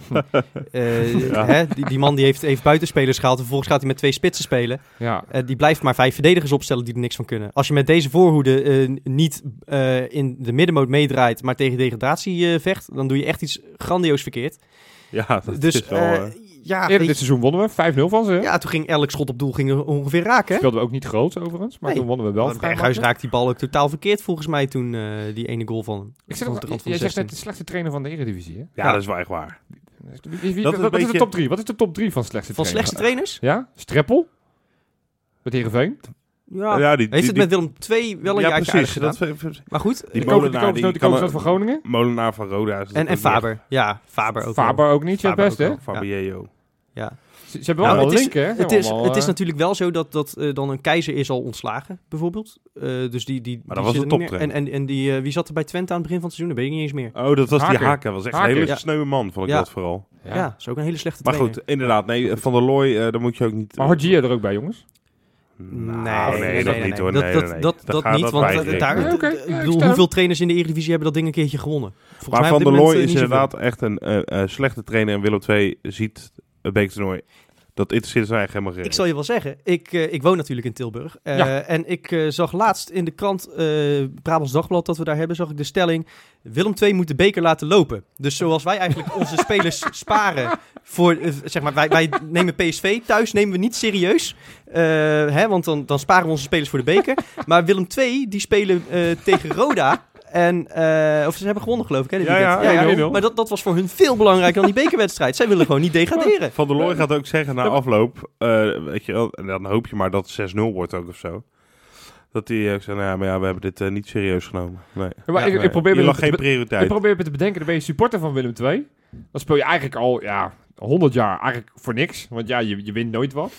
S2: Eh,
S1: Ja.
S2: hè, die, die man die heeft, heeft buitenspelers gehaald, vervolgens gaat hij met twee spitsen spelen.
S3: Ja,
S2: Eh, die blijft maar vijf verdedigers opstellen die er niks van kunnen. Als je met deze voorhoede eh, niet eh, in de middenmoot meedraait, maar tegen degradatie eh, vecht, dan doe je echt iets grandioos verkeerd.
S1: ja, dat
S2: dus
S1: is wel...
S2: eh,
S1: eh,
S2: ja,
S3: eerder dit
S2: weet je-
S3: seizoen wonnen we 5-0 van ze.
S2: ja, toen ging elk schot op doel ging er ongeveer raken. hè?
S3: Speelden we ook niet groot overigens, maar
S2: Nee.
S3: toen wonnen we wel.
S2: Want
S3: vrij
S2: Berghuis
S3: makkelijk.
S2: raakte die bal ook totaal verkeerd volgens mij toen eh, die ene goal van hem.
S3: Ik zeg
S2: Vanaf
S3: ook-
S2: de kant van
S3: jij
S2: de
S3: zegt
S2: 16.
S3: net de slechtste trainer van de Eredivisie. Hè?
S1: ja,
S2: ja.
S1: dat is wel echt waar.
S3: Wie- wie-
S1: Dat
S3: wie- wat
S1: is
S3: wat is de
S1: beetje-
S3: top 3? Wat is de top 3 van slechtste
S2: Van
S3: trainer?
S2: slechtste trainers?
S3: Ja? Streppel? Met Heerenveen?
S2: Ja.
S1: Ja, die,
S2: Heeft
S1: die-
S2: het met Willem II wel een
S1: ja,
S2: jaartje aardig
S1: precies.
S2: gedaan.
S1: Dat, die
S2: Maar goed,
S3: Die
S2: eh,
S3: koken de
S1: Molenaar, die
S3: kokersnoot
S1: kan
S3: van
S1: er-
S3: Groningen?
S1: Molenaar van Roda. is
S2: en, en
S1: natuurlijk
S2: Faber. Ja, Faber ook wel.
S3: Faber ook niet, ja
S1: Faber
S3: best
S1: ook
S3: hè?
S1: wel, Fabio.
S2: Ja.
S3: Ze, ze hebben wel
S2: Ja,
S3: allemaal
S2: het is-
S3: linken hè? Ze
S2: Het,
S3: hebben
S2: is,
S3: allemaal,
S2: het is
S3: eh,
S2: natuurlijk wel zo dat, dat eh, dan een keizer is al ontslagen, bijvoorbeeld. Eh, dus die, die,
S1: Maar dat
S2: die
S1: was
S2: zit
S1: een
S2: er niet meer.
S1: toptrainer.
S2: En, en, en die, eh, wie zat er bij Twente aan het begin van het seizoen? Dat weet ik niet eens meer.
S1: Oh, dat was
S3: Haken.
S1: die Haken. Dat was echt
S3: Haken.
S1: een hele
S2: Ja.
S1: sneuwe man, vond ik
S2: Ja.
S1: dat vooral.
S2: Ja,
S3: Ja.
S2: dat is ook een hele slechte
S1: Maar
S2: trainer.
S1: goed, inderdaad. Nee, Van der Looy, eh, daar moet je ook niet...
S3: Maar hoort Gia er ook bij, jongens?
S1: Nou,
S3: nee, nee,
S1: dat
S3: nee,
S1: niet hoor.
S2: Dat,
S1: Nee,
S2: dat,
S1: nee, nee.
S2: dat,
S1: Daar
S2: dat
S1: gaat
S2: niet, want
S1: bij
S2: eh,
S1: rekenen.
S2: daar,
S3: Nee, oké,
S2: ik bedoel,
S3: ja, ik stem.
S2: hoeveel trainers in de Eredivisie hebben dat ding een keertje gewonnen? Volgens
S1: Maar
S2: mij
S1: Van
S2: op dit
S1: der
S2: moment,
S1: Looy
S2: eh,
S1: is
S2: niet zoveel.
S1: inderdaad echt een eh, eh, slechte trainer. En Willem II ziet het bekertoernooi. Dat interesseert zijn eigenlijk helemaal geen.
S2: Ik zal je wel zeggen, ik, eh, ik woon natuurlijk in Tilburg. Eh,
S3: Ja.
S2: En ik eh, zag laatst in de krant eh Brabants Dagblad dat we daar hebben, zag ik de stelling... Willem II moet de beker laten lopen. Dus zoals wij eigenlijk onze spelers sparen voor... eh, zeg maar, wij, wij nemen PSV thuis, nemen we niet serieus. eh, hè, want dan, dan sparen we onze spelers voor de beker. Maar Willem II, die spelen eh, tegen Roda... En, eh, of ze hebben gewonnen, geloof ik. Hè, dit
S1: Ja,
S2: weekend.
S1: ja,
S3: 1-0.
S2: Maar dat, dat was voor hun veel belangrijker dan die bekerwedstrijd. Zij willen gewoon niet degraderen.
S1: Van der Looy gaat ook zeggen na
S3: Ja, maar-
S1: afloop, eh, weet je wel, en dan hoop je maar dat het 6-0 wordt ook of zo. Dat hij ook zegt, nou ja, maar ja, we hebben dit eh, niet serieus genomen. Nee.
S3: Maar ik,
S1: Nee,
S3: ik probeer
S1: hier
S3: me
S1: lag
S3: te-
S1: geen
S3: Ik
S1: prioriteit.
S3: probeer me te bedenken, dan ben je supporter van Willem II. Dan speel je eigenlijk al ja, 100 jaar eigenlijk voor niks. Want ja, je, je wint nooit wat.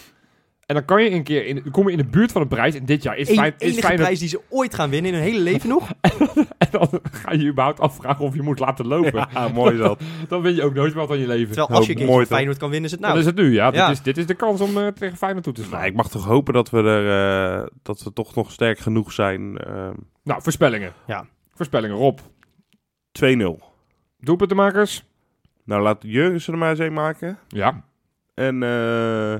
S3: En dan kan je een keer in, kom je in de buurt van een prijs. En dit jaar is,
S2: Eén
S3: fijn, is
S2: enige
S3: Feyenoord...
S2: prijs die ze ooit gaan winnen in hun hele leven nog.
S3: En dan ga je je überhaupt afvragen of je moet laten lopen.
S1: Ja, mooi dat.
S3: Dan win je ook nooit wat aan je leven.
S2: Terwijl als je een
S1: Nou, Mooi
S2: keertje van
S1: toch?
S2: Feyenoord kan winnen, is het
S3: dat
S2: nou.
S3: is het nu, ja.
S2: Ja.
S3: Dit, is, dit is de kans om eh, tegen Feyenoord toe te slaan.
S1: Nou, ik mag toch hopen dat we, er, eh, dat we toch nog sterk genoeg zijn. ehm,
S3: Nou, voorspellingen.
S2: Ja.
S3: Voorspellingen, Rob.
S1: 2-0.
S3: Doelpuntenmakers?
S1: Nou, laat Jurgensen er maar eens een maken.
S3: Ja.
S1: En eh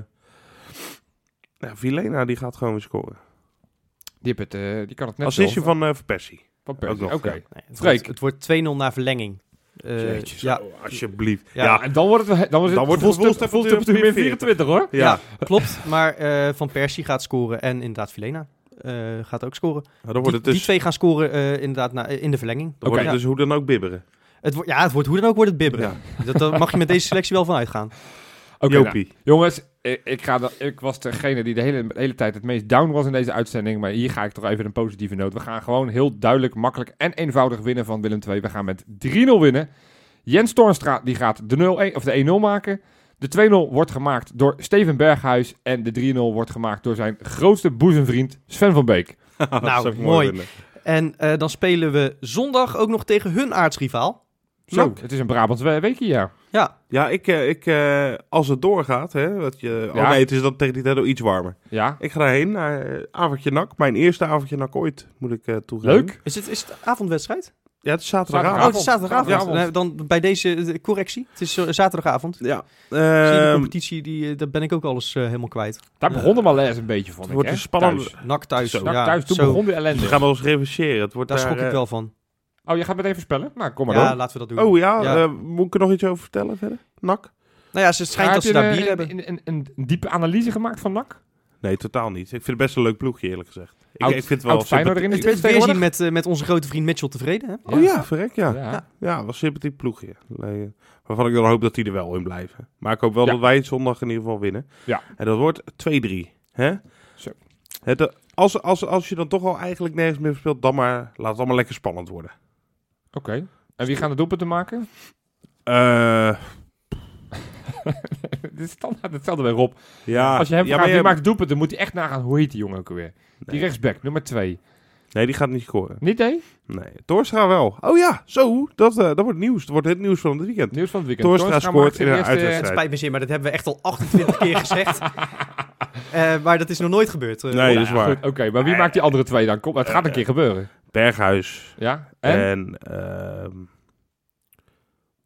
S1: nou, Vilena, die gaat gewoon weer scoren.
S3: Die, hebt het, eh, die kan het net
S1: Assistje
S3: zelf.
S1: van, eh van Persie.
S3: Van Persie.
S1: ook nog,
S3: Oké.
S1: ja.
S2: Nee, het,
S3: Freek.
S2: wordt, het wordt 2-0 na verlenging. Eh,
S1: Jeetje, zo,
S2: ja,
S1: alsjeblieft.
S2: Ja.
S1: Ja,
S3: En dan wordt het, dan wordt het
S1: Dan wordt het
S3: gevoelstemperatuur- gevoelstemperatuur min 24, hoor.
S1: ja.
S2: ja. klopt. Maar eh, Van Persie gaat scoren en inderdaad Filena eh, gaat ook scoren.
S1: Nou, dan
S2: Die,
S1: wordt het
S2: die
S1: dus,
S2: twee gaan scoren eh, inderdaad na, eh, in de verlenging.
S1: dan wordt
S3: Oké.
S1: het dus hoe dan ook bibberen.
S2: Het wordt, ja, het wordt hoe dan ook wordt het bibberen. Dat, daar mag je met deze selectie wel van uitgaan.
S3: Oké, nou,
S1: Jopie.
S3: Jongens, ik, ik, ga dan- ik was degene die de hele, de hele tijd het meest down was in deze uitzending. Maar hier ga ik toch even een positieve noot. We gaan gewoon heel duidelijk, makkelijk en eenvoudig winnen van Willem II. We gaan met 3-0 winnen. Jens Toornstra die gaat de 0-1 of de 1-0 maken. De 2-0 wordt gemaakt door Steven Berghuis. En de 3-0 wordt gemaakt door zijn grootste boezemvriend Sven van Beek.
S1: Dat
S2: Nou,
S1: zou ik
S2: mooi.
S1: vinden.
S2: En eh, dan spelen we zondag ook nog tegen hun aardsrivaal.
S3: Zo,
S1: Nou.
S3: het is een Brabants we- weekje, ja.
S2: Ja,
S1: Ja, ik, eh, ik, eh, als het doorgaat, hè, wat je,
S3: Ja.
S1: oh nee, het is dan tegen die tijd al iets warmer.
S3: Ja,
S1: Ik ga daarheen naar eh, avondje nak. Mijn eerste avondje nak ooit, moet ik eh toegeven.
S3: leuk.
S2: is het, is het avondwedstrijd?
S1: Ja, het is
S2: Oh,
S1: zaterdagavond.
S2: het is zaterdagavond.
S3: Zaterdagavond.
S2: Eh, dan bij deze eh, correctie. Het is eh, zaterdagavond.
S1: Ja,
S2: Zie je,
S1: ehm,
S2: die competitie, die, eh, daar ben ik ook alles eh, helemaal kwijt.
S3: Daar
S2: Ja.
S3: begon de malaise een beetje van.
S1: het wordt een spannende...
S2: Nak thuis.
S1: Zo.
S3: Thuis,
S2: ja,
S3: thuis toen
S2: zo,
S3: begon de
S1: We
S3: ellende.
S1: gaan ons reverseren. Het wordt
S2: Daar
S1: daar,
S2: schrok ik
S1: eh,
S2: wel van.
S3: Oh, je gaat meteen voorspellen? Nou, kom maar
S2: Ja,
S3: door.
S2: laten we dat doen.
S1: Oh ja,
S2: Ja.
S1: eh, moet ik er nog iets over vertellen verder? Nak?
S2: Nou ja, ze het schijnt
S3: Maar
S2: dat ze
S3: heb je eh,
S2: daar bier
S3: een-
S2: hebben.
S3: Een, een, een, een diepe analyse gemaakt van NAC?
S1: Nee, totaal niet. Ik vind het best een leuk ploegje, eerlijk gezegd. Ik,
S3: Oud-
S1: ik vind het wel...
S3: Oud Feyenoord erin de
S2: Het, het
S3: spits
S2: weerzien
S3: tegenwoordig?
S2: met, eh, met onze grote vriend Mitchell tevreden. Hè?
S1: Oh ja, verrek, ja.
S3: Ja.
S2: Ja.
S1: Ja, was een sympathiek ploegje. Le- Waarvan ik dan hoop dat die er wel in blijven. Maar ik hoop wel
S3: Ja.
S1: dat wij het zondag in ieder geval winnen.
S3: Ja.
S1: En dat wordt 2-3. Hè?
S3: Zo.
S1: Het, eh, Als, als, als je dan toch al eigenlijk nergens meer speelt, dan maar laat het allemaal lekker spannend worden.
S3: Oké. En wie gaan de doelpunten maken?
S1: Eh,
S3: Dit is standaard hetzelfde bij Rob.
S1: ja.
S3: Als je hem
S1: Ah, ja,
S3: vraagt,
S1: maar
S3: wie
S1: je-
S3: maakt doelpunten, dan moet hij echt nagaan hoe heet die jongen ook alweer. Die
S1: Nee.
S3: rechtsback, nummer 2.
S1: Nee, die gaat niet scoren.
S3: Niet, hè?
S1: Nee, Torstra wel. Oh ja, zo. Dat, eh, dat wordt nieuws. Dat wordt het nieuws van het weekend.
S3: Nieuws van het weekend.
S1: Toornstra
S3: Toornstra
S1: scoort
S3: maakt zijn
S1: in een
S3: eerste-
S1: uitwedstrijd.
S2: Het spijt me zeer, maar dat hebben we echt al 28 keer gezegd. Eh, maar dat is nog nooit gebeurd. eh,
S1: Nee, Eh, dat is
S3: Goed,
S1: waar.
S3: Oké, maar wie maakt die andere twee dan? Kom, het gaat een keer gebeuren.
S1: Berghuis
S3: Ja? En?
S1: en, ehm,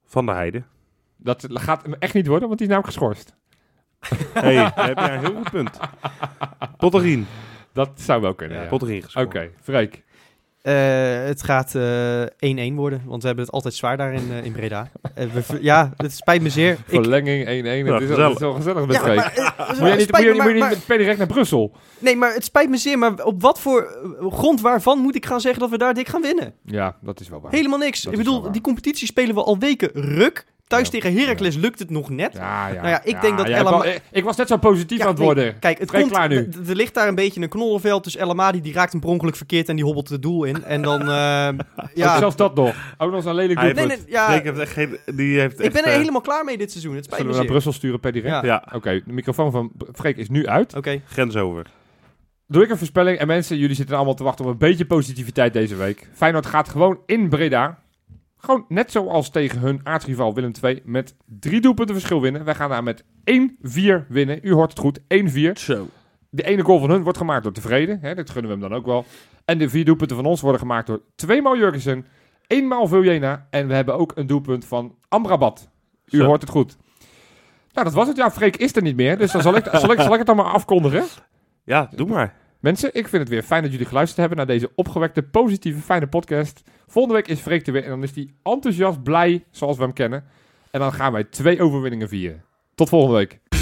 S1: Van der Heijden.
S3: Dat gaat hem echt niet worden, want die is namelijk geschorst.
S1: Hé, hey, daar heb jij een heel goed punt. Potterien.
S3: Dat zou wel kunnen,
S1: Ja,
S3: ja.
S1: Potterien
S3: Oké,
S1: gescoord.
S3: Freek.
S2: Eh, het gaat eh, 1-1 worden, want we hebben het altijd zwaar daar in, eh, in Breda. Eh, we ver- ja, het spijt me zeer. Ik-
S3: Verlenging 1-1. het, is, al-
S1: gezellig.
S3: het is wel gezellig met
S2: ja,
S3: Freek.
S2: maar, eh,
S3: Moet je niet,
S2: spijt
S3: moet je,
S2: me,
S3: moet je niet
S2: maar-
S3: met per direct naar Brussel?
S2: Nee, maar het spijt me zeer, maar op wat voor eh, grond waarvan moet ik gaan zeggen dat we daar dik gaan winnen?
S3: Ja, dat is wel waar.
S2: Helemaal niks.
S3: Dat
S2: ik
S3: is wel
S2: bedoel,
S3: waar.
S2: die competitie spelen we al weken ruk. Thuis
S3: Ja.
S2: tegen Heracles lukt het nog net.
S3: Ja, ja.
S2: Nou ja, ik denk dat
S3: jij hebt
S2: Ella-
S3: wel- eh, Ik was net zo positief
S2: Ja,
S3: aan het
S2: nee,
S3: worden.
S2: Kijk, het
S3: Vrij
S2: komt,
S3: klaar nu.
S2: d- d- er ligt daar een beetje een knollenveld. Dus El Amadi die raakt hem per ongeluk verkeerd en die hobbelt het doel in. En dan, eh,
S3: Ook
S2: ja.
S3: zelfs dat nog. Ook nog eens een lelijk
S1: Hij heeft
S3: doel.
S2: nee,
S1: het.
S2: nee, ja.
S1: Freek heeft echt geen- die heeft
S2: Ik ben
S1: echt,
S2: er
S1: eh,
S2: helemaal klaar mee dit seizoen. Het spijt
S3: Zullen
S2: me
S3: we naar
S2: zeer.
S3: Brussel sturen per direct?
S2: Ja.
S1: Ja,
S3: Oké, de microfoon van Freek is nu uit.
S2: Oké.
S1: grens over.
S3: Doe ik een voorspelling. En mensen, jullie zitten allemaal te wachten op een beetje positiviteit deze week. Feyenoord gaat gewoon in Breda. Gewoon net zoals tegen hun aardsrivaal Willem II. Met drie doelpunten verschil winnen. Wij gaan daar met 1-4 winnen. U hoort het goed, 1-4.
S1: Zo.
S3: De ene goal van hun wordt gemaakt door Tevreden. Hè, dat gunnen we hem dan ook wel. En de vier doelpunten van ons worden gemaakt door tweemaal Jurgensen. Eenmaal Viljena. En we hebben ook een doelpunt van Amrabat. U
S1: Zo.
S3: hoort het goed. Nou, dat was het. Ja, Freek is er niet meer. Dus dan zal ik, zal ik, zal ik het dan maar afkondigen.
S1: Ja, doe maar.
S3: Mensen, ik vind het weer fijn dat jullie geluisterd hebben naar deze opgewekte, positieve, fijne podcast. Volgende week is Freek er weer en dan is hij enthousiast, blij, zoals we hem kennen. En dan gaan wij twee overwinningen vieren. Tot volgende week.